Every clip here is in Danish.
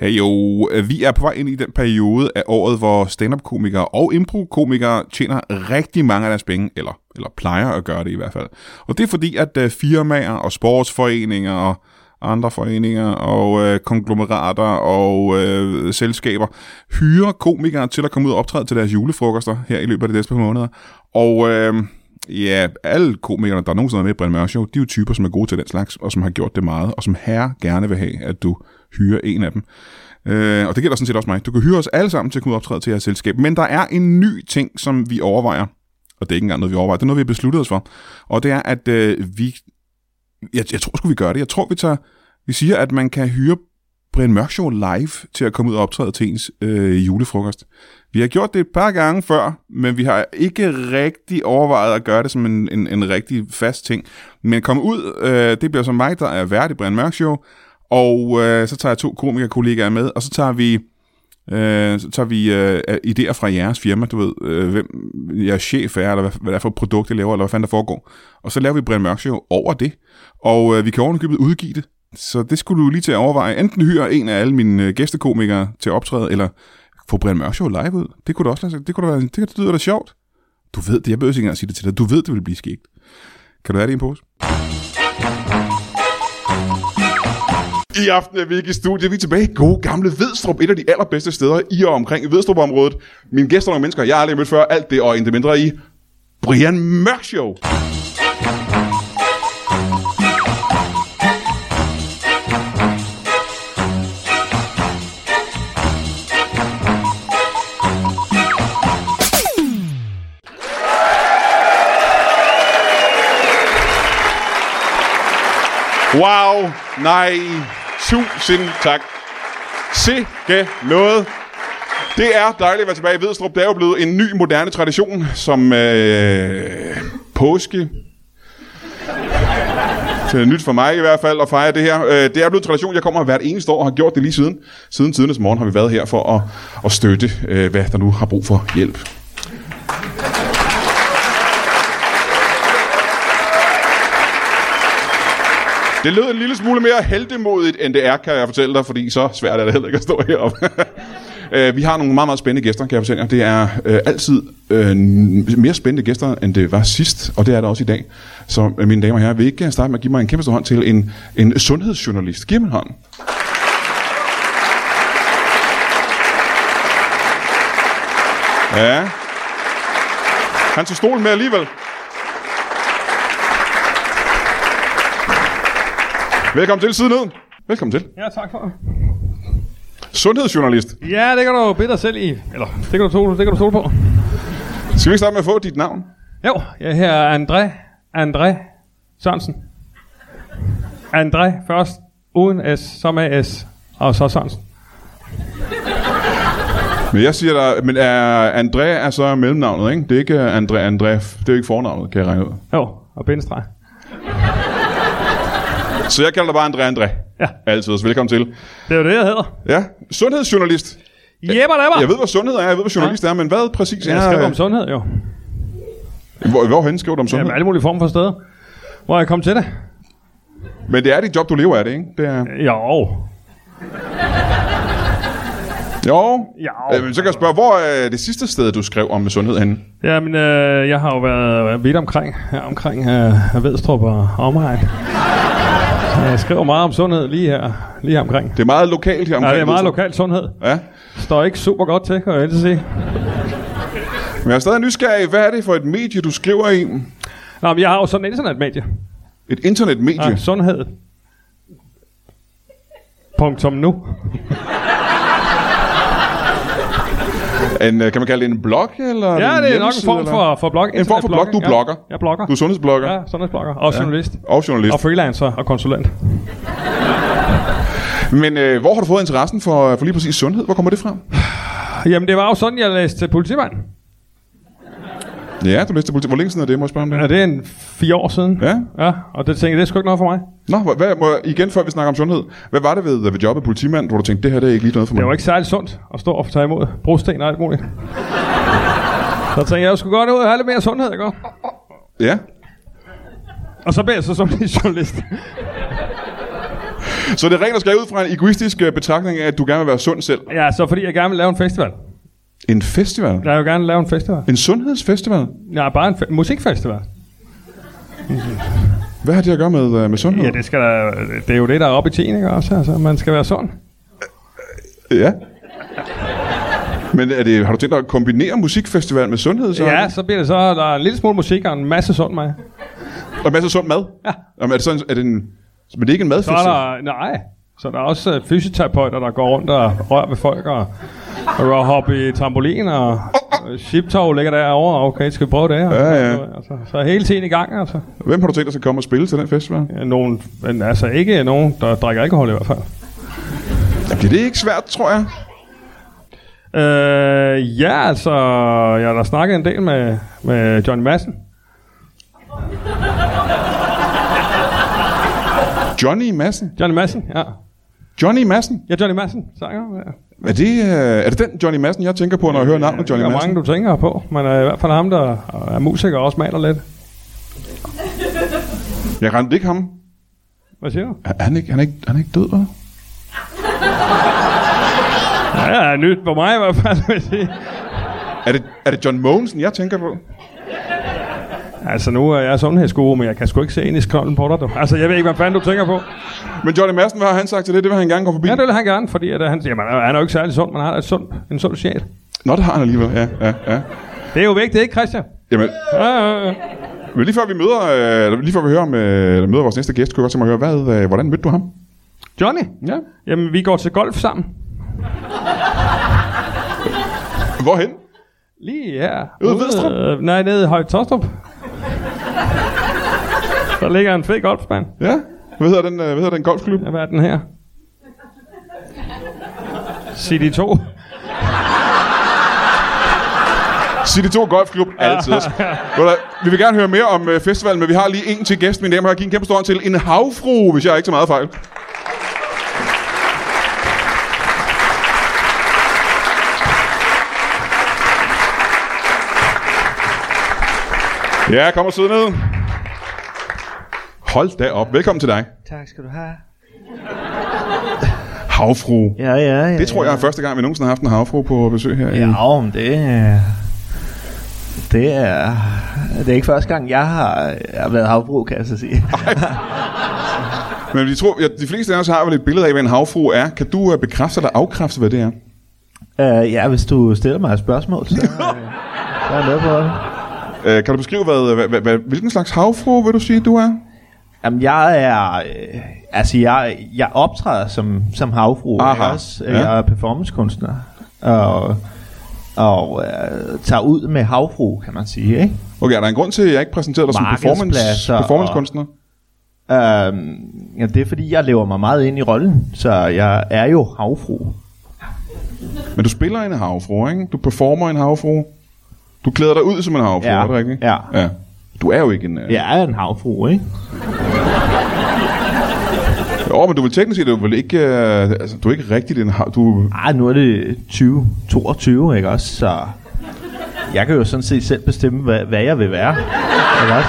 Hey jo, vi er på vej ind i den periode af året, hvor stand-up-komikere og impro-komikere tjener rigtig mange af deres penge, eller, eller plejer at gøre det i hvert fald. Og det er fordi, at øh, firmaer og sportsforeninger og andre foreninger og øh, konglomerater og øh, selskaber hyrer komikere til at komme ud og optræde til deres julefrokoster her i løbet af de næste par måneder. Og øh, Ja, alle komikerne, der nogensinde er med i Brian Mørk Show, de er jo typer, som er gode til den slags, og som har gjort det meget, og som herre gerne vil have, at du hyrer en af dem. Øh, og det gælder sådan set også mig. Du kan hyre os alle sammen til at kunne optræde til jeres selskab. Men der er en ny ting, som vi overvejer. Og det er ikke engang noget, vi overvejer. Det er noget, vi har besluttet os for. Og det er, at øh, vi... Jeg, jeg tror sgu, vi gør det. Jeg tror, vi tager... Vi siger, at man kan hyre Brian Mørk Show live til at komme ud og optræde til ens øh, julefrokost. Vi har gjort det et par gange før, men vi har ikke rigtig overvejet at gøre det som en, en, en rigtig fast ting. Men komme ud, øh, det bliver som mig, der er vært i Brian Mørk Show, og øh, så tager jeg to komikerkollegaer med, og så tager vi, øh, så tager vi øh, idéer fra jeres firma, du ved, øh, hvem jeres chef er, eller hvad, hvad det er for et produkt, jeg laver, eller hvad fanden der foregår. Og så laver vi Brian Mørk Show over det, og øh, vi kan ovenikøbet udgive det. Så det skulle du lige til at overveje. Enten hyre en af alle mine øh, gæstekomikere til at optræde, eller få Brian Mørk Show live ud. Det kunne da også lade sig. Det, kunne da være, det, det lyder da sjovt. Du ved det. Jeg behøver ikke engang at sige det til dig. Du ved, det vil blive skægt. Kan du have det i en pose? I aften er vi ikke i studiet. Vi er tilbage i gode gamle Vedstrup. Et af de allerbedste steder i og omkring Vedstrup-området. Mine gæster er nogle mennesker, jeg har aldrig mødt før. Alt det og intet mindre i Brian Mørk Show. Wow, nej, tusind tak. Sikke noget. Det er dejligt at være tilbage i Hvidstrup. Det er jo blevet en ny moderne tradition, som øh, påske. Det er nyt for mig i hvert fald at fejre det her. Øh, Det er blevet en tradition, jeg kommer hvert eneste år og har gjort det lige siden. Siden tidernes morgen har vi været her for at, at støtte, øh, hvad der nu har brug for hjælp. Det lød en lille smule mere heldemodigt, end det er, kan jeg fortælle dig, fordi så svært er det heller ikke at stå heroppe. Øh, Vi har nogle meget, meget spændende gæster, kan jeg fortælle jer. Det er øh, altid øh, n- mere spændende gæster, end det var sidst, og det er det også i dag. Så øh, mine damer og herrer, vil I ikke gerne starte med at give mig en kæmpe stor hånd til en, en sundhedsjournalist? Giv mig en hånd. Ja. Han tog stolen med alligevel. Velkommen til, siden ned. Velkommen til. Ja, tak for det. Sundhedsjournalist. Ja, det kan du bede dig selv i. Eller, det kan du stole, det kan du stole på. Skal vi ikke starte med at få dit navn? Jo, jeg her er André, André Sørensen. André først, uden S, så med S, og så Sørensen. Men jeg siger dig, men er André er så mellemnavnet, ikke? Det er ikke øh, André André, det er jo ikke fornavnet, kan jeg regne ud. Jo, og bindestreg. Så jeg kalder dig bare André André. Ja. Altid, så velkommen til. Det er jo det, jeg hedder. Ja, sundhedsjournalist. Jebber, dabber! Jeg ved, hvad sundhed er, jeg ved, hvad journalist er, men hvad præcis jeg er... skriver om sundhed, jo. hvor, hvorhen skriver du om sundhed? Jamen, alle mulige former for steder, hvor jeg kom til det. Men det er dit job, du lever af det, ikke? Det er... Jo, Jo. Jo. Øh, men så kan jeg spørge, hvor er det sidste sted, du skrev om sundhed henne? Jamen, øh, jeg har jo været vidt omkring, her omkring øh, Vedstrup og omegn. Jeg skriver meget om sundhed lige her, lige her omkring. Det er meget lokalt her omkring. Ja, det er meget Vedstrup. lokal sundhed. Ja, Står ikke super godt til, kan jeg altid sige. men jeg er stadig nysgerrig. Hvad er det for et medie, du skriver i? Nå, men jeg har jo sådan en internetmedie. Et internetmedie? Ja, sundhed. Punktum nu. En, øh, kan man kalde det en blog? Eller Ja, en det er nok en hjemmeside, form eller? for, for blog. En form for blog, du Ja, blogger. Jeg blogger. Du er sundhedsblogger ja. Ja, sundhedsblogger. Og journalist. og journalist. Og freelancer og konsulent. Men øh, hvor har du fået interessen for, for lige præcis sundhed? Hvor kommer det fra? Jamen, det var jo sådan, jeg læste politimand. Ja, du læste politi. Hvor længe siden er det, må jeg spørge om det? Ja, det er en fire år siden. Ja. Ja, og det tænkte jeg, det er sgu ikke noget for mig. Nå, hvad- hvad, må jeg, igen før vi snakker om sundhed. Hvad var det ved, ved jobbet politimand, hvor du tænkte, det her det er ikke lige noget for mig? Det var ikke særlig sundt at stå og tage imod brosten og alt muligt. Så tænkte jeg, jeg skulle godt ud og have lidt mere sundhed, ikke? også? Ja. Og så blev jeg så som en journalist. Så det er rent at skrive ud fra en egoistisk øh, betragtning af, at du gerne vil være sund selv. Ja, så fordi jeg gerne vil lave en festival. En festival? Jeg vil gerne lave en festival. En sundhedsfestival? Ja, bare en fe- musikfestival. Hvad har det at gøre med, øh, med sundhed? Ja, det, skal der, det er jo det, der er oppe i tiden, ikke også? Altså, man skal være sund. Ja. Men er det, har du tænkt dig at kombinere musikfestival med sundhed? Så? Ja, så bliver det så, der er en lille smule musik og en masse sund mad. Og masser af sund mad? Ja. Jamen, er det sådan, er det en, men det er ikke en Så er madfestival? der, nej, så der er også øh, fysioterapeuter, der går rundt og rører ved folk og, og hopper i trampolin og øh, shiptov ligger derovre. Okay, skal vi prøve det? Ja, ja. Altså, så er hele tiden i gang, altså. Hvem har du tænkt dig at komme og spille til den festival? Ja, Nogen, men altså ikke nogen, der drikker alkohol i hvert fald. Jamen, det er ikke svært, tror jeg. Øh, ja, altså, jeg har da snakket en del med, med Johnny Madsen. Johnny Madsen. Johnny Madsen, ja. Johnny Madsen. Ja, Johnny Madsen, sanger. Ja. Er det, øh, er det den Johnny Madsen, jeg tænker på, når jeg hører navnet Johnny der er Madsen? mange, du tænker på, men øh, i hvert fald ham, der er musiker og også maler lidt. Jeg rendte ikke ham. Hvad siger du? Er er han ikke, han er ikke, han er ikke død, hva'? Ja, ja, nyt for mig i hvert fald, vil jeg sige. Er det, er det John Mogensen, jeg tænker på? Altså, nu er jeg sundhedsgode, men jeg kan sgu ikke se ind i skrollen på dig, du. Altså, jeg ved ikke, hvad fanden du tænker på. Men Johnny Madsen, hvad har han sagt til det? Det vil han gerne gå forbi. Ja, det vil han gerne, fordi at, øh, han, jamen, han er jo ikke særlig sund, men han har et sund, en sund sjæl. Nå, det har han alligevel, ja, ja, ja. Det er jo vigtigt, ikke, Christian? Jamen, Ja, ja, ja. men lige før vi møder, øh, eller lige før vi hører, om, øh, eller møder vores næste gæst, kunne jeg godt tænke mig at høre, hvad, øh, hvordan mødte du ham? Johnny? Ja. Jamen, vi går til golf sammen. Hvorhen? Lige her. Ude i Vidstrup? Øh, nej, nede i Høje Tostrup. Der ligger en fed golfbane. Ja. Hvad hedder den, øh, hvad hedder den golfklub? Hvad er den her? City 2. City 2 Golfklub, altid. Ved du hvad, Vi vil gerne høre mere om øh, festivalen, men vi har lige en til gæst, mine damer og herrer. Giv en kæmpe stor hånd til en havfru, hvis jeg ikke så meget fejl. Ja, kom og sidde ned. Hold da op. Velkommen til dig. Tak skal du have. Havfru. Ja, ja, ja. Det tror jeg er første gang, vi nogensinde har haft en havfru på besøg her. i- Ja, om det... øh, Det er... Det er ikke første gang, jeg har, jeg har været havbrug, kan jeg så sige. Men vi tror, ja, de fleste af os har vel et billede af, hvad en havfru er. Kan du øh, bekræfte eller afkræfte, hvad det er? uh, ja, hvis du stiller mig et spørgsmål, så, øh, så er jeg med på det. Øh, kan du beskrive, hvad, hvad, hvad, hvad, hvilken slags havfru vil du sige, du er? Jamen, jeg er... Øh, altså, jeg, jeg optræder som, som havfru. Aha, ikke også? Øh, ja. Jeg er performancekunstner. Og, og øh, tager ud med havfru, kan man sige, ikke? Okay, er der en grund til, at jeg ikke præsenterede dig som performance, Markedspladser og- performancekunstner? Øhm, ja, det er fordi, jeg lever mig meget ind i rollen, så jeg er jo havfru. Men du spiller en havfru, ikke? Du performer en havfru. Du klæder dig ud som en havfru, Ja, er det rigtigt? ja. ja. Du er jo ikke en... Øh... Jeg er en havfru, ikke? Jo, men du vil teknisk set, du er vel ikke... Øh, altså, du er ikke rigtigt en hav... Du... Ej, Ah, nu er det 2022, ikke også? Så jeg kan jo sådan set selv bestemme, hvad, hvad jeg vil være. Ikke også?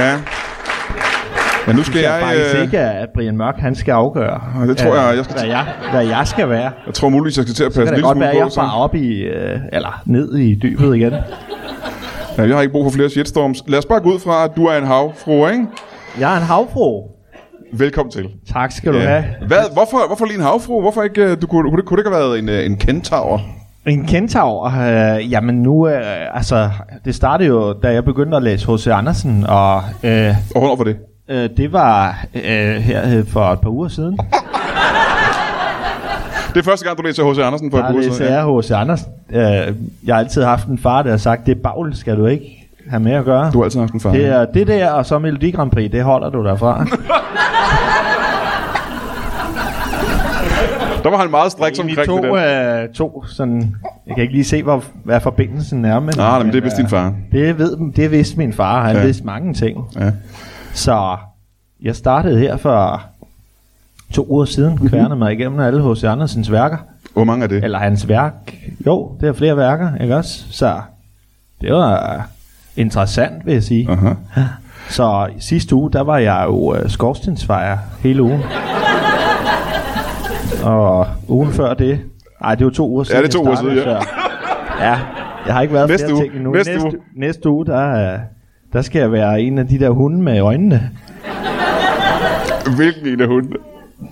Ja. Men nu skal Det jeg jeg... faktisk Øh, Ah, ikke, at Brian Mørk han skal afgøre, det tror øh, jeg, jeg skal hvad, jeg, hvad jeg skal være. jeg tror muligvis, jeg skal til at Det passe en kan lille da godt være, smule at på. jeg så- bare op i, øh, eller ned i dybet igen. Ja, jeg har ikke brug for flere shitstorms. Lad os bare gå ud fra, at du er en havfru, ikke? Jeg er en havfru. Velkommen til. Tak skal du have. Hvad, hvorfor, hvorfor lige en havfru? Hvorfor ikke, øh, du kunne, kunne, det, kunne det ikke have været en, øh, en kentaur? En kentaur, øh, jamen nu, øh, altså, det startede jo, da jeg begyndte at læse H.C. Andersen, og øh, Og hvornår var det? øh, det var øh, her øh, for et par uger siden. Det er første gang, du læser H.C. Andersen på et par Der uger læser siden, ja. jeg H.C. Andersen. Øh, jeg har altid haft en far, der har sagt, det er bagl, skal du ikke have med at gøre. Du har altid haft en far. Det er det der, og så Melodi Grand Prix, det holder du derfra. Der var han meget striks Vi omkring det to, der. øh, to sådan, jeg kan ikke lige se, hvor, hvad forbindelsen er. Men, Nej, nej, men det er vist øh, din far. Det, ved, det vidste min far, han Ja. ja. vidste mange ting. Ja. Så jeg startede her for to uger siden, kværnede Mhm. mig igennem alle H.C. Andersens værker. Hvor mange er det? Eller hans værk. Jo, det er flere værker, ikke også? Så Det var øh, interessant, vil jeg sige. Aha. Så sidste uge, der var jeg jo øh, skorstensfejer hele ugen. Og ugen før det... Nej, det var to uger siden. det er to jeg uger startede, siden, ja. så- ja. Jeg har ikke været Næste flere uge. ting endnu. Næste uge. næste uge, der, øh, der skal jeg være en af de der hunde med øjnene. Hvilken en af hundene?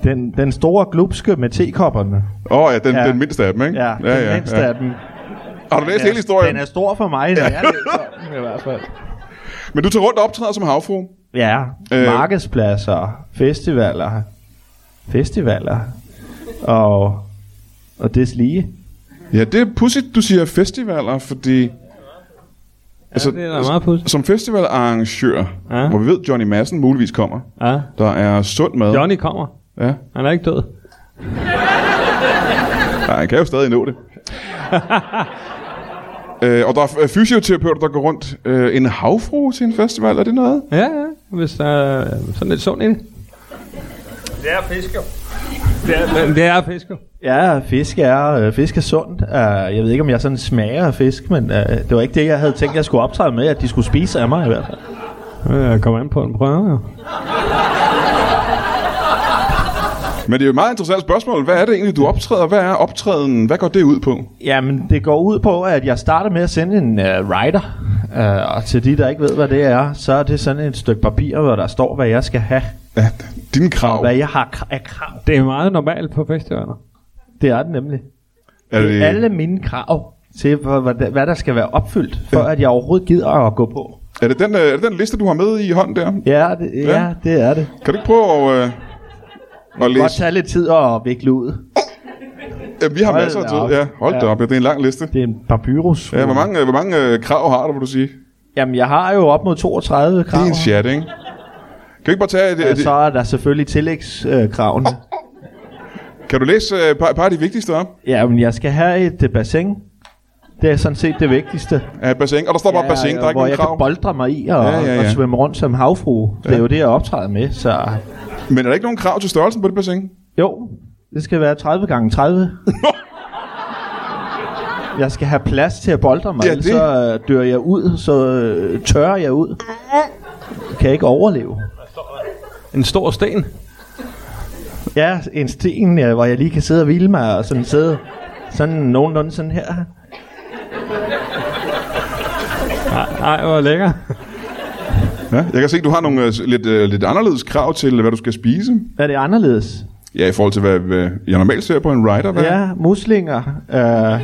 Den, den store glupske med tekopperne. Åh oh, ja, den, ja, Ja. den mindste af dem, ikke? Ja, ja, den ja, mindste ja. af dem. Har du læst hele historien? Den er stor for mig, når jeg læser den, i hvert fald. Men du tager rundt og optræder som havfru. Ja, Øh. øh. markedspladser, festivaler, festivaler og, og deslige. Ja, det er pudsigt, du siger festivaler, fordi... Altså, ja, det er da meget pudsigt. Som festivalarrangør, ja. Ja. hvor vi ved, Johnny Madsen muligvis kommer, Ja. der er sund mad. Johnny kommer. Ja, Han er ikke død. ja, han kan jo stadig nå det. øh, og der er f- fysioterapeuter, der går rundt. Øh, en havfru til en festival, er det noget? Ja, ja. Hvis der er sådan lidt sund i det. Det er fisker. Det er, det er fisker. Ja, fisk er, øh, fisk er sundt. Uh, jeg ved ikke, om jeg sådan smager af fisk, men uh, det var ikke det, jeg havde tænkt, jeg skulle optræde med, at de skulle spise af mig i hvert fald. Jeg kommer an på en prøve, jo. Men det er jo et meget interessant spørgsmål. Hvad er det egentlig, du optræder? Hvad er optræden? Hvad går det ud på? Jamen, det går ud på, at jeg starter med at sende en uh, rider. Uh, og til de, der ikke ved, hvad det er, så er det sådan et stykke papir, hvor der står, hvad jeg skal have. Ja, dine krav. Hvad jeg har kr- af krav. Det er meget normalt på festivaler. Det er det nemlig. Er Det det, er alle mine krav til, hvor- hvor- hvad der skal være opfyldt, for at jeg overhovedet gider at gå på. er det, den, øh, er det den liste, du har med i hånden der? Ja, det, Ja. ja, det er det. Kan du ikke prøve at, øh, at Det godt læse? tage lidt tid at vikle ud. Ja, vi har Hold masser af da tid. op. Ja, hold da Ja. Mm. op. Ja, det er en lang liste. Det er en papyrus. Ja, hvor mange, øh, hvor mange øh, krav har du, vil du sige? Jamen, jeg har jo op mod 32 krav. Det er en chat, ikke? Kan du ikke bare tage... Et, Og så et, er der selvfølgelig tillægskravene. kan du læse øh, et par, et par af de vigtigste op? Jamen, jeg skal have et øh, bassin. Det er sådan set det vigtigste. Ja, et bassin. Og der står bare ja, bassin. Der er ikke hvor jeg nogen krav. kan boldre mig i og, Ja, ja, ja. og svømme rundt som havfru. Det er jo det, jeg optræder med. Så Men er der ikke nogen krav til størrelsen på det bassin? jo, det skal være 30 gange 30. jeg skal have plads til at boldre mig, Ja, ja, det- ellers så øh, dør jeg ud, så øh, tørrer jeg ud. Kan jeg ikke overleve. En stor sten. Ja, en sten, ja, hvor jeg lige kan sidde og hvile mig og sådan sidde sådan nogenlunde sådan her. Nej, hvor lækker. Ja, jeg kan se, du har nogle øh, s- lidt, øh, lidt anderledes krav til, hvad du skal spise. Er det anderledes? Ja, i forhold til, hvad, hvad jeg normalt ser på en rider. Hvad? Ja, muslinger, øh,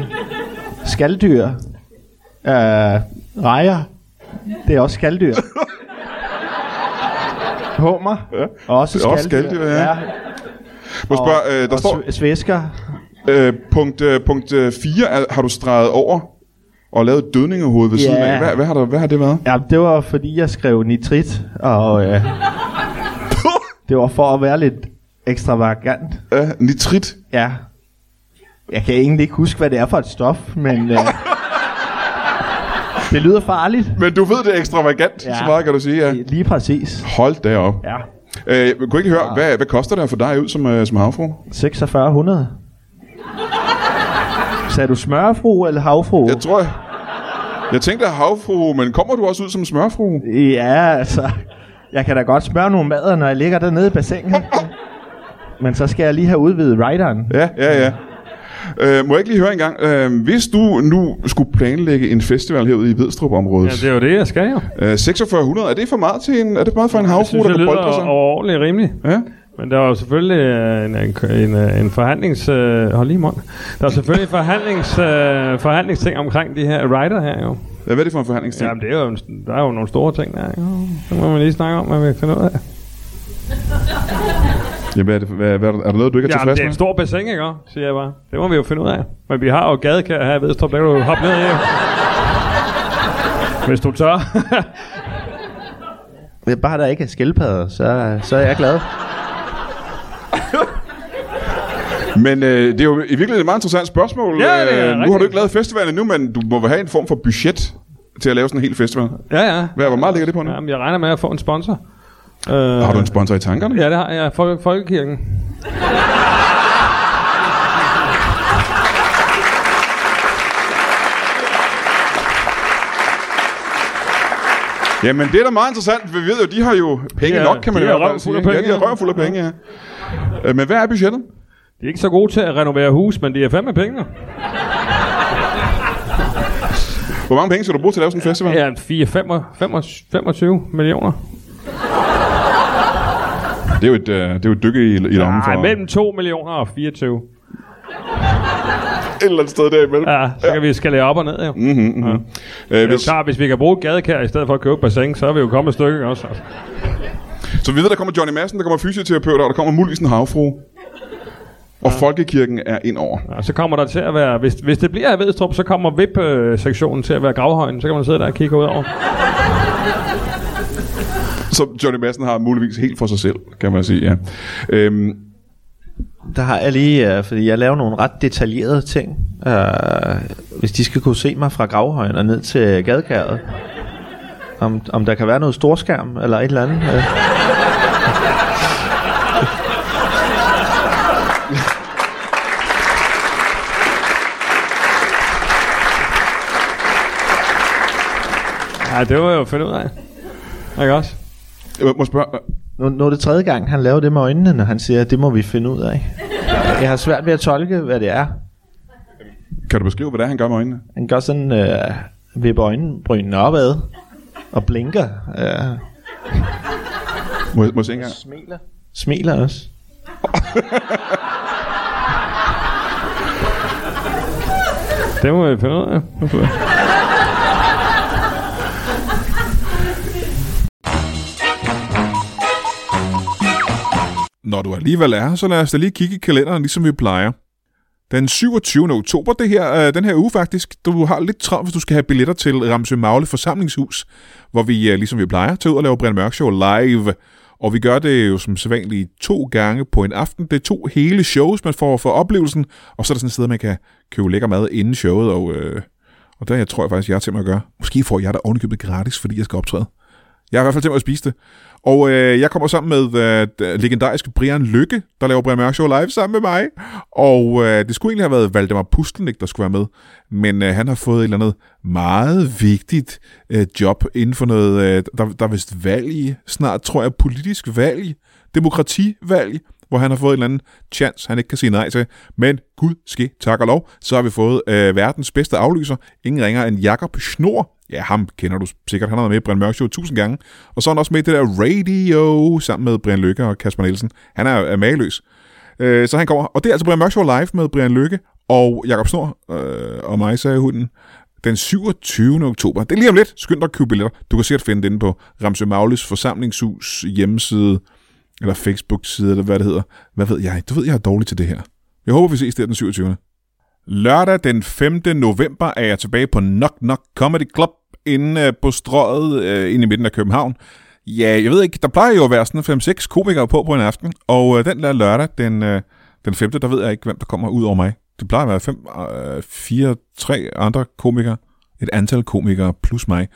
skalddyr, øh, rejer, det er også skalddyr. Hummer, Ja, også det er skalddyr. også skalddyr, ja. Må jeg og- spørge, øh, der og står... sv- svæsker. Øh, punkt, øh, punkt øh, 4 er, har du streget over og lavet et dødningehoved ved Ja. siden af. Hvad, hvad, har der, hvad har det været? Ja, det var fordi, jeg skrev nitrit, og øh, det var for at være lidt ekstravagant. Ja, nitrit. Ja. Jeg kan egentlig ikke huske, hvad det er for et stof, men... Øh, det lyder farligt. Men du ved, det er ekstravagant, ja. Ja. så meget kan du sige. Ja. Lige præcis. Hold da op. Ja. Øh, jeg kunne ikke høre, hvad, hvad koster det at få dig ud som, øh, som havfru? 4600. Sagde du smørfru eller havfru? Jeg tror, jeg, jeg tænkte at havfru, men kommer du også ud som smørfru? Ja, altså... Jeg kan da godt smøre nogle mader, når jeg ligger dernede i bassinet. Men så skal jeg lige have udvidet rideren. Ja, ja, ja. Øh, må jeg ikke lige høre en gang? Øh, hvis du nu skulle planlægge en festival herude i Ja, Vedstrup-området, det er jo det, jeg skal jo. ja, øh, 4600, er det for meget til en, er det meget for en Jeg havfru, synes, der det kan lyder bolde sig? overordentligt rimeligt. Ja? Men der var jo selvfølgelig øh, en, en, en, øh, en forhandlings... Øh, hold lige mund. Der var selvfølgelig forhandlings, øh, forhandlingsting omkring de her rider her jo. Hvad er det for en forhandlingsting? Jamen, det er jo, en- der er jo nogle store ting der. Jo. Så må man lige snakke om, hvad vi finder ud af. Jamen, hvad er, det, for- hvad, hvad, er der noget, du ikke er tilfreds Jamen, det er en med? stor bassin, ikke? også? Siger jeg bare. Det må vi jo finde ud af. Men vi har jo gadekær her i Vedstrup. Der kan du hoppe ned i. jo. Hvis du tør. Det er bare, der ikke er skildpadder, så, så er jeg glad. Men øh, det er jo i virkeligheden et meget interessant spørgsmål. Ja, det er Øh, nu har rigtigt. du ikke lavet festivalen endnu, men du må vel have en form for budget til at lave sådan en hel festival. ja, ja. Hvad, hvor meget ligger det på nu? Jamen, jeg regner med at få en sponsor. Øh, Har du en sponsor i tankerne? Ja, det har jeg. Fol- Folkekirken. Jamen, det er da meget interessant. Vi ved jo, de har jo penge Ja, nok, kan man de jo er i hvert fald røvfulde af sige. penge, Ja, de er ja. røvfulde af penge, ja. Øh, Men hvad er budgettet? De er ikke så gode til at renovere hus, men de er fandme penge. Hvor mange penge skal du bruge til at lave sådan en festival? Ja, 4, 5, 25 millioner. Det er jo et, øh, det er jo et dykke i, i lommen for... Nej, mellem 2 millioner og 24. Et eller andet sted derimellem. Ja, så kan vi skalere op og ned, jo. Mm-hmm. Øh, Det er jo hvis, klart, hvis vi kan bruge gadekær i stedet for at købe bassin, så er vi jo kommet et stykke ikke også. Altså. så vi ved, der kommer Johnny Madsen, der kommer fysioterapeuter, og der kommer muligvis en havfru. Og folkekirken er ind over. Og så kommer der til at være, hvis, hvis det bliver i Vedstrup, så kommer VIP-sektionen til at være gravhøjen, så kan man sidde der og kigge ud over. Så Johnny Madsen har muligvis helt for sig selv, kan man sige, ja. Øhm, Der har jeg lige, øh, fordi jeg laver nogle ret detaljerede ting. Øh, hvis de skal kunne se mig fra gravhøjen og ned til gadekæret. Om, om der kan være noget storskærm eller et eller andet. Øh. Ja, det var jo fedt ud af. Ikke også? jeg må spørge, øh, Nu, nu er det tredje gang, han laver det med øjnene, når han siger, at det må vi finde ud af. Jeg har svært ved at tolke, hvad det er. kan du beskrive, hvad det er, han gør med øjnene? Han gør sådan, øh, vipper øjenbrynene opad og blinker. Øh, Må, jeg- må jeg se engang? smiler. Smiler også. Det må vi finde ud af. Når du alligevel er her, så lad os da lige kigge i kalenderen, ligesom vi plejer. Den 27. oktober, det her, øh, den her uge faktisk, du har lidt travlt, hvis du skal have billetter til Ramsø Magle forsamlingshus, hvor vi, øh, ligesom vi plejer, tager ud og laver Brian Mørk Show live. Og vi gør det jo som sædvanligt to gange på en aften. Det er to hele shows, man får for oplevelsen, og så er der sådan et sted, man kan købe lækker mad inden showet, og, øh, og der jeg tror jeg faktisk, jeg er til mig at gøre. Måske får jeg der ovenikøbet gratis, fordi jeg skal optræde. Jeg er i hvert fald til mig at spise det. Og øh, jeg kommer sammen med øh, d- legendariske Brian Lykke, der laver Brian Mørk Show live sammen med mig. Og øh, det skulle egentlig have været Valdemar Pustelnik, der skulle være med. Men øh, han har fået et eller andet meget vigtigt øh, job inden for noget, øh, der, der er vist valg i, snart tror jeg, politisk valg, i, demokrativalg, hvor han har fået en eller anden chance, han ikke kan sige nej til. Men gud ske, tak og lov, så har vi fået øh, verdens bedste aflyser. Ingen ringer end Jakob Schnor. Ja, ham kender du sikkert. Han har været med i Brian Mørk Show tusind gange. Og så er han også med i det der radio sammen med Brian Lykke og Kasper Nielsen. Han er, er mageløs. Øh, så han kommer. Og det er altså Brian Mørk Show live med Brian Lykke og Jakob Snor øh, og mig, sagde hunden. Den 27. oktober. Det er lige om lidt. Skynd dig at købe billetter. Du kan sikkert finde det inde på Ramsø Magles forsamlingshus hjemmeside eller Facebook-side, eller hvad det hedder. Hvad ved jeg? Du ved, jeg er dårlig til det her. Jeg håber, vi ses der den 27. Lørdag den 5. november er jeg tilbage på Knock Knock Comedy Club inde øh, på strøget øh, inde i midten af København. Ja, jeg ved ikke, der plejer jo at være sådan 5-6 komikere på på en aften, og øh, den der lørdag den, øh, den 5. der ved jeg ikke, hvem der kommer ud over mig. Det plejer at være 5, øh, 4, 3 andre komikere, et antal komikere plus mig,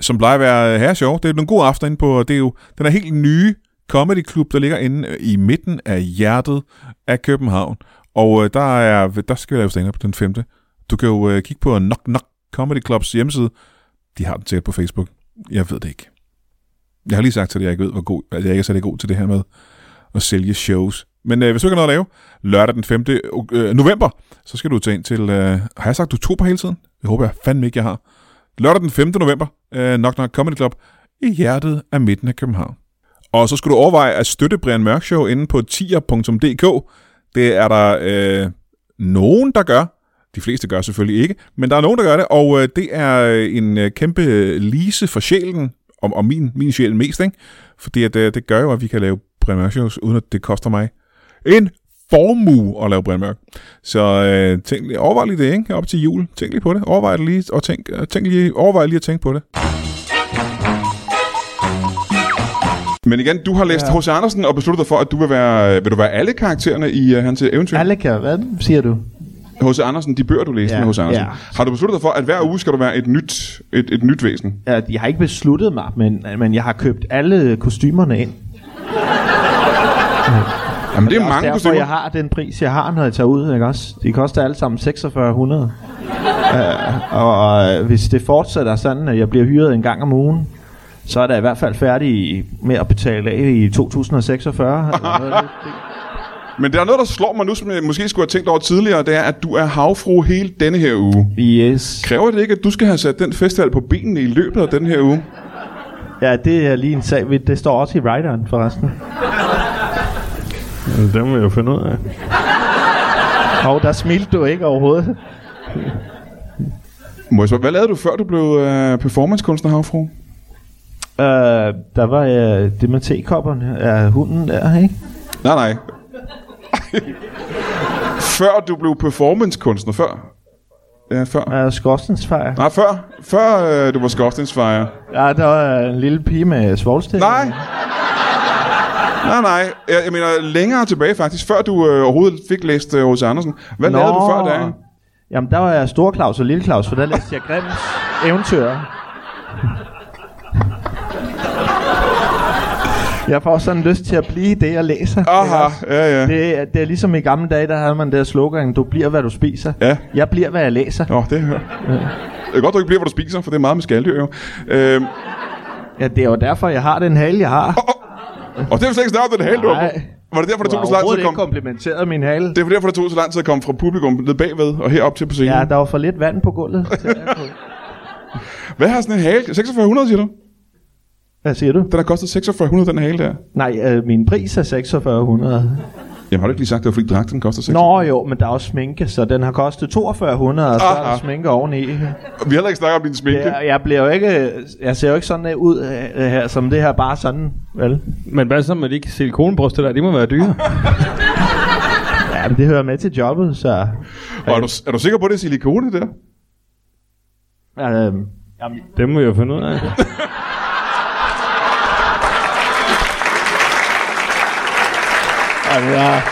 som plejer at være her sjov. Det er nogle gode aftener inde på, det er jo den er helt nye comedy klub, der ligger inde øh, i midten af hjertet af København. Og øh, der, er, der skal vi lave stand-up den 5. Du kan jo øh, kigge på Knock Knock Comedy Clubs hjemmeside. De har den sikkert på Facebook. Jeg ved det ikke. Jeg har lige sagt til dig, at jeg ikke ved, hvor god, at jeg ikke er særlig god til det her med at sælge shows. Men øh, hvis du ikke har noget at lave, lørdag den 5. ok- Øh, november, så skal du tage ind til... Øh, har jeg sagt oktober hele tiden? Jeg håber jeg fandme ikke, jeg har. Lørdag den 5. november, øh, Knock Knock Comedy Club, i hjertet af midten af København. Og så skal du overveje at støtte Brian Mørk Show inde på tier.dk. Det er der øh, nogen, der gør. De fleste gør selvfølgelig ikke, men der er nogen, der gør det, og øh, det er øh, en øh, kæmpe øh, lise for sjælen, og, og min, min sjæl mest, ikke? fordi at, øh, det gør jo, at vi kan lave Brian Mørk Shows, uden at det koster mig en formue at lave Brian Mørk. Så øh, tænk, lige- overvej lige det, ikke? op til jul. Tænk lige på det. Overvej det lige, og tænk, øh, tænk lige, overvej lige at tænke på det. Men igen, du har læst H.C. Ja. Andersen og besluttet dig for, at du vil være, øh, vil du være alle karaktererne i uh, hans eventyr. Aleka, hvad siger du? H.C. Andersen, de bøger, du læste Ja, med H.C. Andersen. ja. Har du besluttet dig for, at hver uge skal du være et nyt, et, et nyt væsen? Jeg, jeg har ikke besluttet mig, men, men jeg har købt alle kostymerne ind. Jamen, det er mange Derfor kostymer. jeg har den pris, jeg har, når jeg tager ud. Ikke også? De koster alle sammen 4600. øh, og øh, hvis det fortsætter sådan, at jeg bliver hyret en gang om ugen, så er der i hvert fald færdig med at betale af i 2046. Eller noget, af det. Men der er noget, der slår mig nu, som jeg måske skulle have tænkt over tidligere, det er, at du er havfru hele denne her uge. yes. Kræver det ikke, at du skal have sat den festival på benene i løbet af den her uge? Ja, det er lige en sag. vi- Det står også i writeren forresten. Jamen, det må jeg jo finde ud af. Og der smilte du ikke overhovedet. Må jeg spørge, hvad lavede du, før du blev øh, performancekunstner, havfru? Øh, der var øh, det med tekopperne af hunden der, ikke? Nej, nej. før du blev performancekunstner, før? Ja, før. Øh, skorstensfejr. Nej, før. Før øh, du var skorstensfejer. Ja, der var en lille pige med svogelstil. Nej. Nej, nej. Jeg, jeg mener længere tilbage faktisk, før du øh, overhovedet fik læst øh, H.C. Andersen. Hvad Nå. lavede du før da? Jamen, der var jeg Stor Claus og Lille Claus, for der læste jeg Grimms eventyr. Jeg får sådan lyst til at blive det, jeg læser. Aha, ja, ja. Det, er- det er ligesom i gamle dage, der havde man der slogan, du bliver, hvad du spiser. Ja. Jeg bliver, hvad jeg læser. Nå, det hører. Det er godt, du ikke bliver, hvor du spiser, for det er meget med skaldyr jo. Øhm, Ja, det er jo derfor, jeg har den hale, jeg har. og det er jo slet ikke snart, den hale, du har på. Nej. Var det derfor, det Du tog har så lang tid overhovedet at ikke komme? komplimenteret min hale. Det er derfor, det tog så lang tid at komme fra publikum ned bagved og herop til på scenen. Ja, der var for lidt vand på gulvet. til at jeg kunne- Hvad har sådan en hale? 4600, siger du? Hvad siger du? Den har kostet 4600, den hale der. Nej, øh, min pris er 4600. Jamen har du ikke lige sagt, det var fordi dragten koster 6? Nå jo, men der er også sminke, så den har kostet 4200, og så er Aha. der sminke oveni. Vi har heller ikke snakket om din sminke. Jeg, jeg, bliver jo ikke, jeg ser jo ikke sådan ud øh, her, som det her, bare sådan, vel? Men hvad så med de silikonebryster der? De må være dyre. Ja, men det hører med til jobbet, så... Og er du, er du sikker på, at det er silikone der? Øh, Det må jeg jo finde ud af. altså, jeg,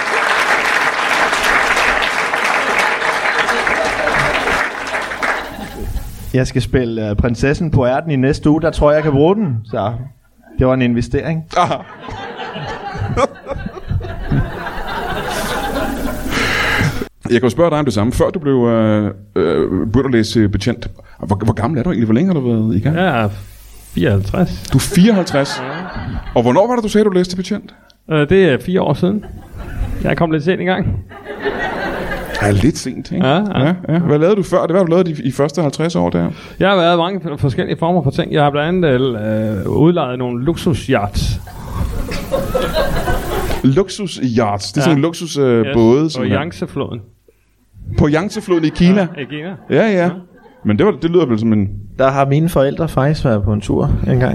jeg skal spille øh, prinsessen på ærten i næste uge, der tror jeg, jeg kan bruge den, så... Det var en investering. Aha. Jeg kan jo spørge dig om det samme. Før du blev øh, øh, begyndte at læse betjent, hvor, hvor gammel er du egentlig? Hvor længe har du været i gang? Ja. Jeg er 54. Du er 54. Ja. Og hvornår var det, du sagde, du læste betjent? Øh, Det er fire år siden. Jeg kom lidt sent i gang. Ja, lidt sent, ikke? Ja, ja. ja, ja. Hvad lavede du før? Det var, du lavede de, i første 50 år der. Jeg har været i mange f- forskellige former for ting. Jeg har blandt andet øh, udlejet nogle luksusyachts. Luxus yachts. Det er ja. Ja. sådan en luksus øh, både. På simpelthen. Yangtze-floden. på Yangtze-floden i Kina. I Kina. Ja, ja. ja. Men det, var, det lyder vel som en... Der har mine forældre faktisk været på en tur engang.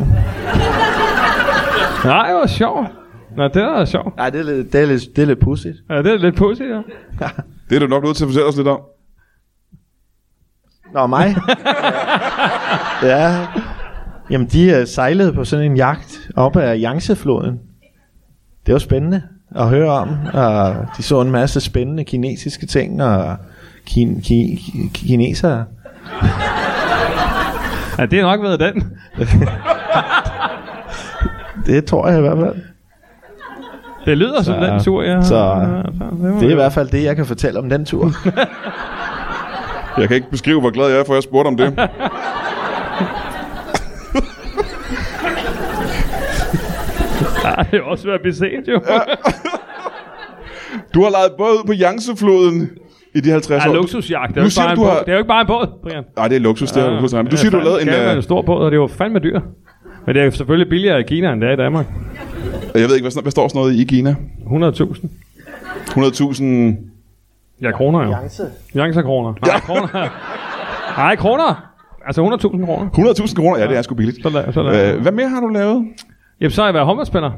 Nej, det var sjovt. Nå, det var sjovt. Nej, det er lidt, det er lidt, det er lidt pudsigt. Ja, det er lidt pudsigt, ja. Det er du nok nødt til at fortælle os lidt om. Nå, mig? ja. Jamen, de øh, sejlede på sådan en jagt op ad Yangtze-floden. Det var spændende at høre om. Og de så en masse spændende kinesiske ting og kin- ki- ki- kinesere. Ja, det har nok været den. Det tror jeg i hvert fald. Det lyder som den tur, jeg har. så- Ja, det, var- Det er i hvert fald det, jeg kan fortælle om den tur. Jeg kan ikke beskrive, hvor glad jeg er, for jeg spurgte om det. Ja, det er også ved at blive sent, jo. Du har lejet både ud på Yangtze-floden i de 50 Ja, år. luksusjagt. Det er, altså, Nu jo siger ikke bare du, en du båd. har- det er jo ikke bare en båd, Brian. Nej, det er luksus, det er ja, Men du siger, du har lavet en... en øh, stor båd, og det var fandme dyr. Men det er jo selvfølgelig billigere i Kina, end det er i Danmark. Jeg ved ikke, hvad, sådan- hvad står sådan noget i i Kina? 100.000. 100.000... Ja, kroner jo. Yangtze kroner. Nej, kroner. Nej, kroner. Altså 100.000 kroner. 100.000 kroner? Ja, det er sgu billigt. Så la- så la- Øh, hvad mere har du lavet? Jamen, så har jeg været håndboldspiller.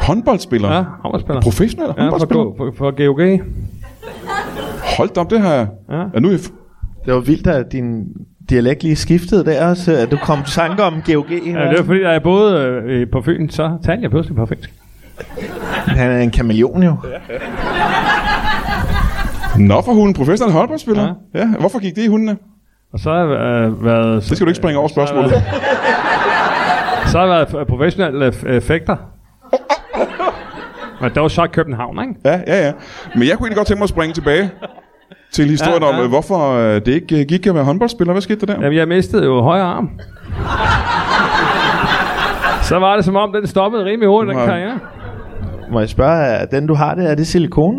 Håndboldspiller? Ja, Ja. håndboldspiller. Professionel Ja, for, håndboldspiller? for, for GOG. Hold da op, det her... Ja. Ja. ja nu er jeg f- Det var vildt, at din dialekt lige skiftede der også. At du kom i tanke om GOG. Ja, det er fordi, der er både øh, på Fyn, så taler jeg pludselig på finsk. Han er en kameleon jo. Nå for hunden, professionel håndboldspiller? Ja. ja. Hvorfor gik det i hundene? Og så har jeg øh, været... Det skal du ikke springe over spørgsmålet. Så har jeg været øh, professionel øh, f- øh, fægter. Men det var så i København, ikke? Ja, ja, ja. Men jeg kunne egentlig godt tænke mig at springe tilbage til historien ja, Ja, ja. om, ja. øh, hvorfor øh, det ikke øh, gik at være håndboldspiller. Hvad skete der der? Ja. Jamen, jeg mistede jo højre arm. Så var det som om, den stoppede rimelig hurtigt, den Nej. karriere. Må jeg spørge, er den du har det, er det silikone?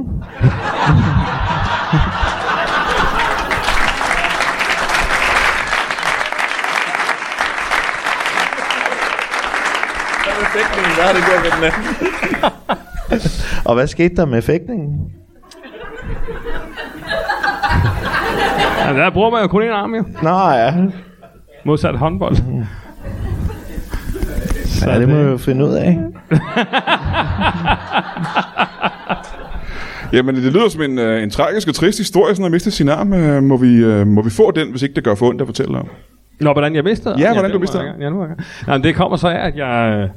Hvad har det gjort med den anden? Og hvad skete der med fægtningen? Ja, der bruger man jo kun en arm, jo. Nå ja, Modsat håndbold. Så ja det må vi jo finde ud af. Jamen, det lyder som en, øh, en tragisk og trist historie, sådan at miste sin arm. Øh, må, vi, øh, må vi få den, hvis ikke det gør for ondt at fortælle om? Nå, hvordan jeg mistede den? Ja, hvordan det du var mistede jeg den. i gang. Ja, nu var jeg i gang. Jamen, det kommer så af, at jeg, øh,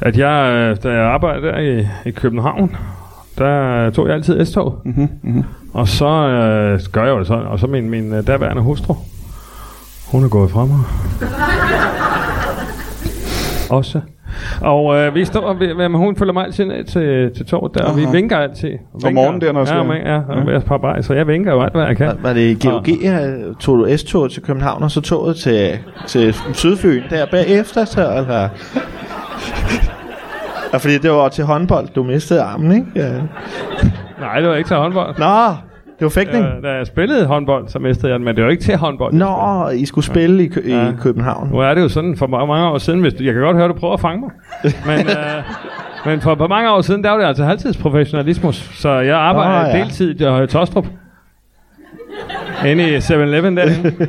at jeg øh, da jeg arbejdede der i, i København, der øh, tog jeg altid S-tog. Mm-hmm, mm-hmm. Og så øh, gør jeg jo det sådan, og så min, min øh, daværende hustru, hun er gået fra mig. Også. Og øh, vi står, ved, ved, men hun følger mig altid ned til, til toget der, og vi Aha. vinker altid. Om morgenen der, når jeg ja, skal- om- ja, ja, ja. På vej, så jeg vinker jo alt, hvad jeg kan. Var- Var det i GOG, øh, tog du S-toget til København, og så toget til, til Sydfyn der bagefter, så, eller? Og fordi det var til håndbold, du mistede armen, ikke? Ja. Nej, det var ikke til håndbold. Nå, det var fægtning. Øh, da jeg spillede håndbold, så mistede jeg den, men det var ikke til håndbold. Nå, I skulle spille i, Kø- i Ja. København. Nu er det jo sådan, for ma- mange år siden, hvis du, jeg kan godt høre, du prøver at fange mig. Men, øh, men for, for mange år siden, der var det altså halvtidsprofessionalismus, så jeg arbejder Nå, ja. ja. deltid i øh, Tostrup. Inde i 7-Eleven derinde.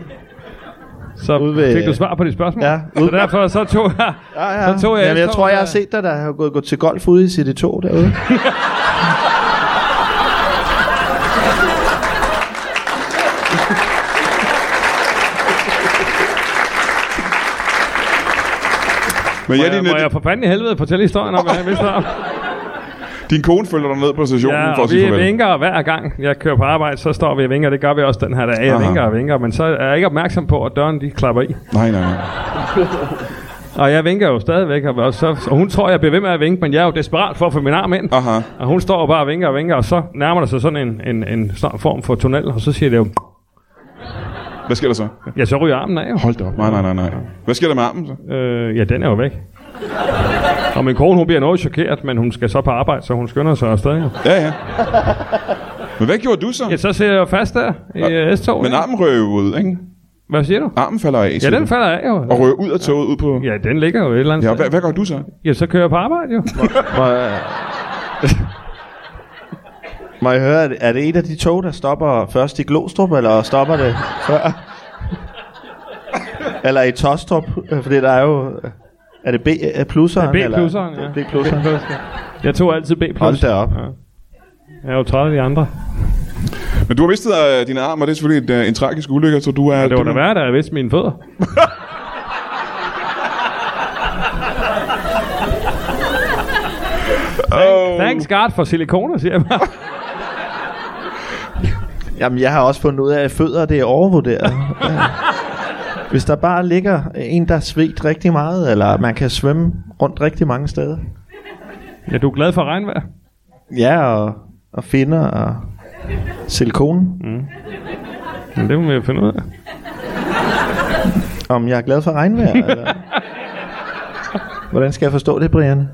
Så Ude ved- fik du svar på de spørgsmål. Ja, så ude- derfor så tog jeg... Ja, ja. Så tog jeg Jamen, jeg S-toget tror, jeg har der. set dig, der har gået, gået til golf ude i CD2 derude. Men Må ja, jeg, din, må øh, jeg for fanden i helvede fortælle historien om, hvad jeg vidste om? din kone følger dig ned på stationen Ja, for at og sige vi farvel. vinker hver gang, jeg kører på arbejde, så står vi og vinker. Det gør vi også den her dag. Jeg Aha. vinker og vinker, men så er jeg ikke opmærksom på, at døren de klapper i. Nej, nej, nej. Og jeg vinker jo stadigvæk, og, og, så, og hun tror, jeg bliver ved med at vinke, men jeg er jo desperat for at få min arm ind. Aha. Og hun står bare og vinker og vinker, og så nærmer der sig sådan en, en, en sådan form for tunnel, og så siger det jo, Hvad sker der så? ja, så ryger armen af jo. Hold da op. Nej, nej, nej, nej. Hvad sker der med armen så? Øh, ja, den er jo væk. Og min kone, hun bliver noget chokeret, men hun skal så på arbejde, så hun skynder sig afsted. Jo. Ja, ja. Men hvad gjorde du så? Ja, så sidder jeg jo fast der i ja. S-toget. Men ikke? armen røg jo ud, ikke? Hvad siger du? Armen falder af, Ja, siger den du. falder af jo. Og røg ud af toget, ud på... Ja, den ligger jo et eller andet Ja, sted. hvad, hvad gør du så? Ja, så kører jeg på arbejde jo. Må, jeg- Må jeg høre, er det- er det et af de tog, der stopper først i Glostrup, eller stopper det før? Eller i Tostrup, Øh, fordi der er jo... Er det B øh, plusseren? Det er B-plusseren, ja. B plusseren. Jeg tog altid B+. Hold da op. Ja. Jeg er jo træt af de andre. Men du har mistet øh, din arm, og det er selvfølgelig et, øh, en tragisk ulykke, så du er... Det var du, da værd, at jeg vidste mine fødder. Thanks God for silikoner, siger jeg bare. Jamen, jeg har også fundet ud af, at fødder det er overvurderet. Ja. Hvis der bare ligger en, der er svedt rigtig meget, eller man kan svømme rundt rigtig mange steder. Ja, du er glad for regnvejr. Ja, og, og finder og silikone. Men det må vi jo finde ud af. Om jeg er glad for regnvejr, eller? Hvordan skal jeg forstå det, Brian?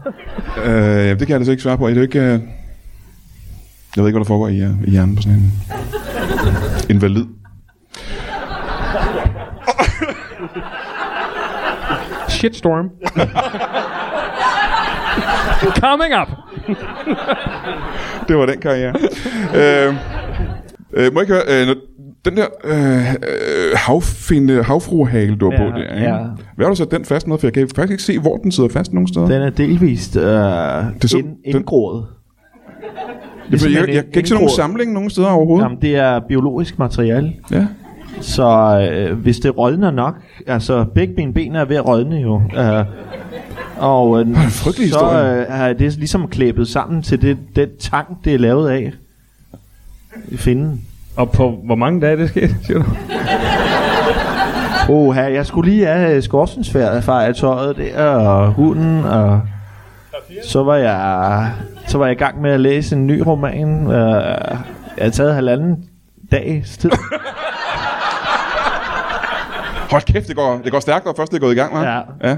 Øh, det kan jeg altså ikke svare på. Er det ikke... Øh... Jeg ved ikke, hvad der foregår i, øh, i hjernen på sådan en... Invalid. Shitstorm. Coming up. Det var den karriere. øh, øh, må jeg ikke høre... Øh, når, den der øh, øh, havfinde, havfruehale, du var Ja, på der, ikke? ja. Hvad har du sat den fast med? For jeg kan faktisk ikke se, hvor den sidder fast nogen steder. Den er delvist øh, Det så- ind, den- indgroet. Det, jeg, jeg, simpelthen jeg en- kan ikke se en nogen grå- samling nogen steder overhovedet. Jamen, det er biologisk materiale. Ja. Så øh, hvis det rådner nok, altså begge mine ben er ved at rådne jo. Øh, og øh, frygtelig så historie. øh, er det ligesom klæbet sammen til det, den tang, det er lavet af. I finden. Og på hvor mange dage er det sket, siger du? Oha, jeg skulle lige have øh, skorstensfærdet fra af tøjet der, og hunden, og så var jeg så var jeg i gang med at læse en ny roman. Øh, jeg havde taget halvanden dags tid. Hold kæft, det går, det går stærkt, når først det er gået i gang, hva'? Ja. ja.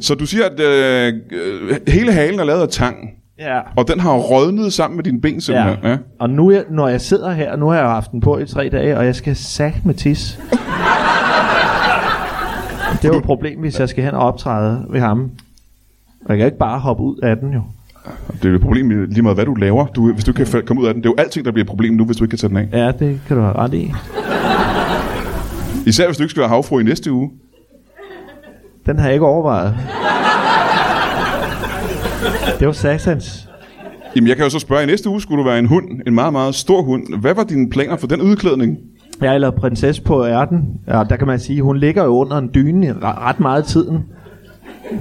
Så du siger, at øh, øh, hele halen er lavet af tang, Ja. og den har rådnet sammen med dine ben simpelthen. Ja. ja. Og nu, jeg, når jeg sidder her, nu har jeg jo haft den på i tre dage, og jeg skal sagt med tis. det er jo et problem, hvis jeg skal hen og optræde ved ham. Og jeg kan ikke bare hoppe ud af den jo. Det er jo et problem i- lige meget, hvad du laver, du, hvis du ikke kan fa- komme ud af den. Det er jo alting, der bliver et problem nu, hvis du ikke kan tage den af. Ja, det kan du have ret i. Især hvis du ikke skal være havfru i næste uge. Den har jeg ikke overvejet. Det var Saxons. Jamen, jeg kan jo så spørge, i næste uge skulle du være en hund, en meget, meget stor hund. Hvad var dine planer for den udklædning? Ja, eller prinsesse på ærten. Ja, der kan man sige, hun ligger jo under en dyne i re- ret meget af tiden.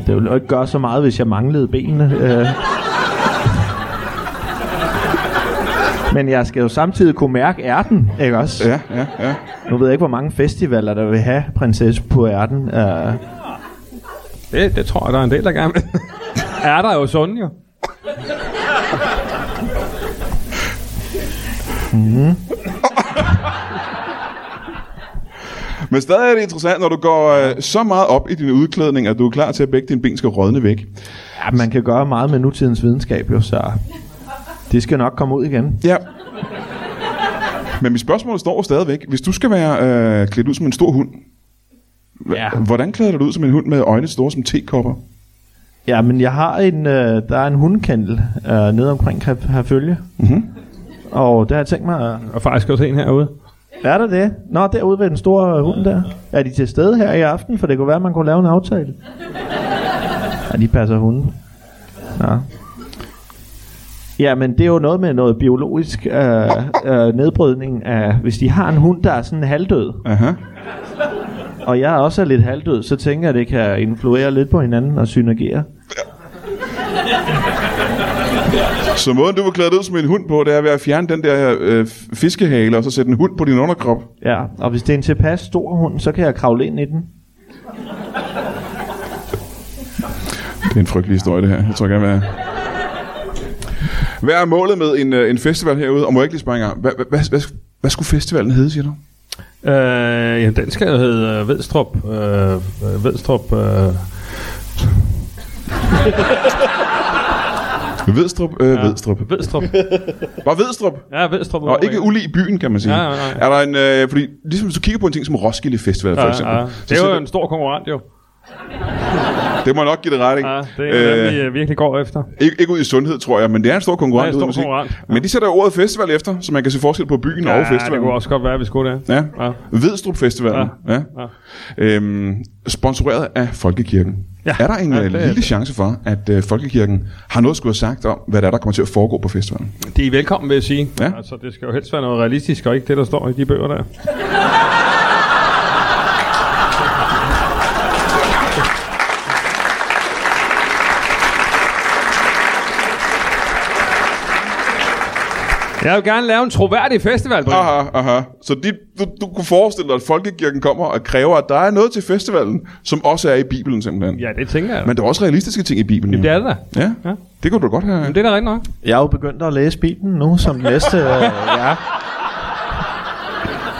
Det ville jo ikke gøre så meget, hvis jeg manglede benene. Øh. Men jeg skal jo samtidig kunne mærke ærten, ikke også? Ja, ja, ja. Nu ved jeg ikke, hvor mange festivaler, der vil have prinsesse på ærten. Øh. Det, det tror jeg, der er en del, der gerne vil. er der jo sådan, jo. Men stadig er det interessant, når du går øh, så meget op i din udklædning, at du er klar til, at begge dine ben skal rådne væk. Ja, man kan gøre meget med nutidens videnskab, jo, så det skal nok komme ud igen. Ja. Men mit spørgsmål står stadigvæk. Hvis du skal være øh, klædt ud som en stor hund, ja. hvordan klæder du dig ud som en hund med øjne store som tekopper? Ja, men jeg har en, øh, der er en hundkendel øh, nede omkring Kre- Herfølge. Mm-hmm. Og der har jeg tænkt mig, at- Og faktisk også en herude. er der det? Nå, derude ved den store øh, hund der. Er de til stede her i aften? For det kunne være, at man kunne lave en aftale. Ja, de passer hunden. Nå. Ja, men det er jo noget med noget biologisk øh, øh, nedbrydning af, hvis de har en hund, der er sådan halvdød, Aha. og jeg også er lidt halvdød, så tænker jeg, at det kan influere lidt på hinanden og synergere. Så måden, du vil klæde dig ud som en hund på, det er ved at fjerne den der øh, fiskehale, og så sætte en hund på din underkrop. Ja, og hvis det er en tilpas stor hund, så kan jeg kravle ind i den. Det er en frygtelig historie, det her. Jeg tror gerne, hvad... Hvad er målet med en, øh, en festival herude? Og må jeg ikke lige spørge engang, hvad, hvad, hvad, hvad, hvad skulle festivalen hedde, siger du? Øh, ja, den skal jo hedde øh, Vedstrup. Øh, øh, Vedstrup. Øh, Vedstrup? Øh, ja. Vedstrup. Vedstrup. Bare Vedstrup. Ja, Vedstrup. Og ikke ulig i byen, kan man sige. Nej, nej, nej. Er der en, øh, fordi ligesom hvis du kigger på en ting som Roskilde Festival, for Ja, eksempel. ja. så Det er sætter- Mm. jo en stor konkurrent, jo. det må jeg nok give det ret, ikke? Ja, det er øh, Øh, dem, vi øh, virkelig går efter. Ikke, ikke ud i sundhed, tror jeg, men det er en stor konkurrent. Ja, en ud i stor musik. konkurrent, Men de sætter ordet festival efter, så man kan se forskel på byen og festivalen. det kunne også godt være, at vi skulle det. Ja. ja. Ja. Vedstrup Festivalen. Ja. Ja. Ja. Øhm, sponsoreret af Folkekirken. Ja. Ja. Er der en Ja, ja, det er lille det. chance for, at øh, Folkekirken har noget at skulle have sagt om, hvad der er, der kommer til at foregå på festivalen? Det er I velkommen, vil jeg sige. Ja. Altså, det skal jo helst være noget realistisk, og ikke det, der står i de bøger der. Jeg vil gerne lave en troværdig festival, Brian. Aha, aha. Så de, du, du kunne forestille dig, at Folkekirken kommer og kræver, at der er noget til festivalen, som også er i Bibelen simpelthen. Ja, det tænker jeg. Men der er også realistiske ting i Bibelen. Jamen, det er det Ja. da. ja, Ja. det kunne du godt have. Jamen, det er da rigtigt nok. Jeg er jo begyndt at læse Bibelen nu som den næste. øh, ja.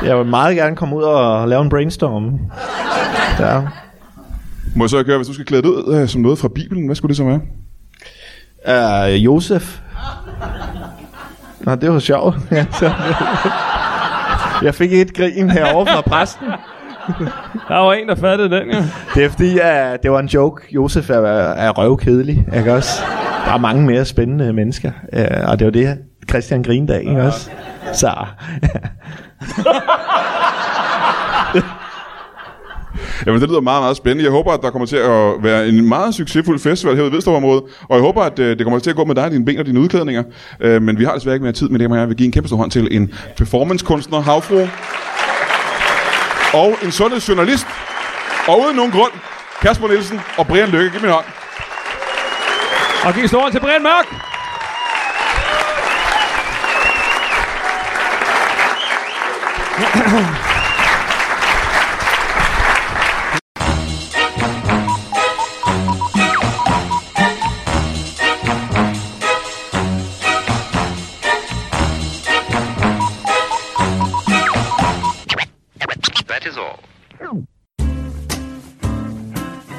Jeg vil meget gerne komme ud og lave en brainstorm. Ja. Må jeg så ikke høre, hvis du skal klæde dig ud øh, som noget fra Bibelen, hvad skulle det så være? Uh, Josef. Nå, det var sjovt. Ja, så- jeg fik et grin herovre fra præsten. Der var en, der fattede den, ja. Det er fordi, uh, det var en joke. Josef er, er røvkedelig, ikke også? Der er mange mere spændende mennesker. Uh, og det var det, Christian grinede af, ikke også? Så, Jamen, det lyder meget, meget spændende. Jeg håber, at der kommer til at være en meget succesfuld festival her i Vedstrupområdet, og jeg håber, at øh, det kommer til at gå med dig, dine ben og dine udklædninger. Øh, men vi har desværre ikke mere tid, men det må jeg vil give en kæmpe stor hånd til en performancekunstner, havfru, og en sundhedsjournalist, og uden nogen grund, Kasper Nielsen og Brian Lykke. Giv mig en hånd. Og giv storen til Brian Mørk. That is all.